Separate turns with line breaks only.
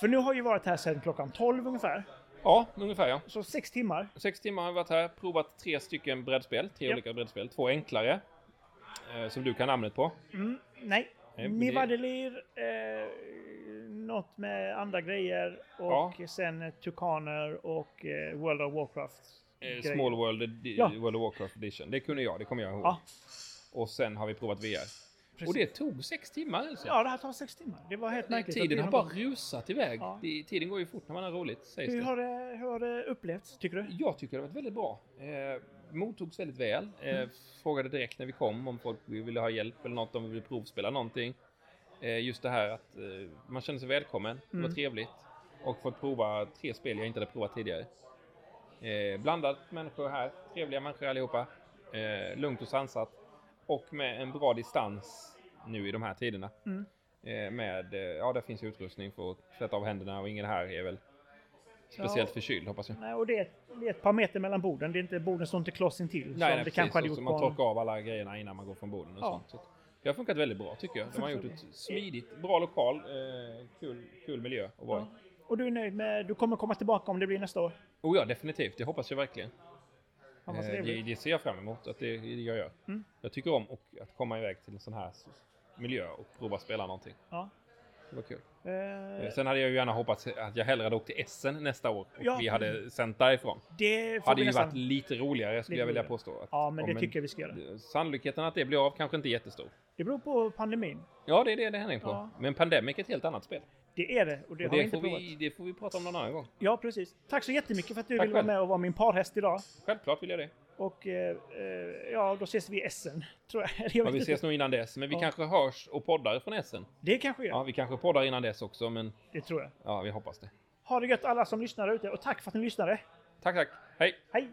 För nu har ju varit här sedan klockan 12 ungefär.
Ja, ungefär ja.
Så sex timmar.
Sex timmar har vi varit här, provat tre stycken brädspel, tre
Ja.
olika brädspel. Två enklare, eh, som du kan namnet på.
Mm, nej.
Nej, men
Nivadelir, eh, något med andra grejer och sen eh, Tukaner och eh, World of Warcraft.
Eh,
grejer.
Small World, edi-
Ja.
World of Warcraft Edition. Det kunde jag, det kommer jag ihåg.
Ja,
Och sen har vi provat VR.
precis.
Och det tog sex timmar alltså.
ja, det här tar sex timmar. Det var helt
Nej,
märkligt. att
tiden
det
har
har
bara rusat iväg.
Ja.
Det, tiden går ju fort när man har roligt, sägs
Hur
det.
har det, hur har det upplevts, tycker du?
Jag tycker det har varit väldigt bra. Eh, mottogs väldigt väl. Eh,
Mm.
Frågade direkt när vi kom om folk ville ha hjälp eller något, om vi ville provspela någonting. Eh, just det här att eh, man kände sig välkommen. Det var
Mm.
trevligt. Och fått prova tre spel jag inte hade provat tidigare. Eh, blandat människor här. Trevliga människor allihopa. Eh, lugnt och sansat. Och med en bra distans nu i de här tiderna.
Mm.
Eh, med, eh, ja, där finns ju utrustning för att tvätta av händerna och ingen här är väl speciellt
Ja.
förkyld hoppas jag.
Nej, och det är, ett, det är ett par meter mellan borden. Det är inte, borden står inte kloss intill. som Liksom, det
precis.
kanske hade
Och
gjort
så
på
Man
en-
torkar av alla grejerna innan man går från borden och
Ja.
sånt. Så att det har funkat väldigt bra tycker jag. De har gjort ett smidigt, bra lokal, eh, kul, kul miljö att vara i.
Ja. Och du är nöjd med... Du kommer komma tillbaka om det blir nästa år?
Oh ja, definitivt. Det hoppas jag verkligen.
Ja, vad
Eh, det,
trevligt.
det ser jag fram emot att det, det gör jag.
Mm.
Jag tycker om och, att komma iväg till en sån här s- miljö och prova spela någonting.
Ja.
Det var kul. Eh,
Eh,
Sen hade jag ju gärna hoppats att jag hellre hade åkt till Essen nästa år och
Ja.
vi hade sänt därifrån.
det får
hade
vi
ju
nästan...
varit lite roligare skulle
Lite
jag vilja
roligare.
påstå. Att,
Ja, men
om
det
en-
tycker jag vi ska göra.
Sannolikheten att det blir av kanske inte är jättestor.
Det beror på pandemin.
Ja, det är det det hänger på.
Ja.
Men Pandemic är ett helt annat spel.
Det är det och det
Det, och
har jag
det,
inte
får
provat.
vi, det får vi prata om någon annan gång.
Ja, precis. Tack så jättemycket för att du
Tack
ville vara
själv.
med och vara min parhäst idag.
Självklart vill jag det.
Och eh, eh, ja, då ses vi i Essen, tror jag. Eller jag
Ja,
vet
vi
inte.
ses nog innan dess, men vi
Ja.
kanske hörs och poddar från Essen.
Det kanske jag gör.
Ja, vi kanske poddar innan dess också, men
Det tror jag.
ja, vi hoppas det.
Ha det gött alla som lyssnar där ute och tack för att ni lyssnade.
Tack, tack. Hej!
Hej!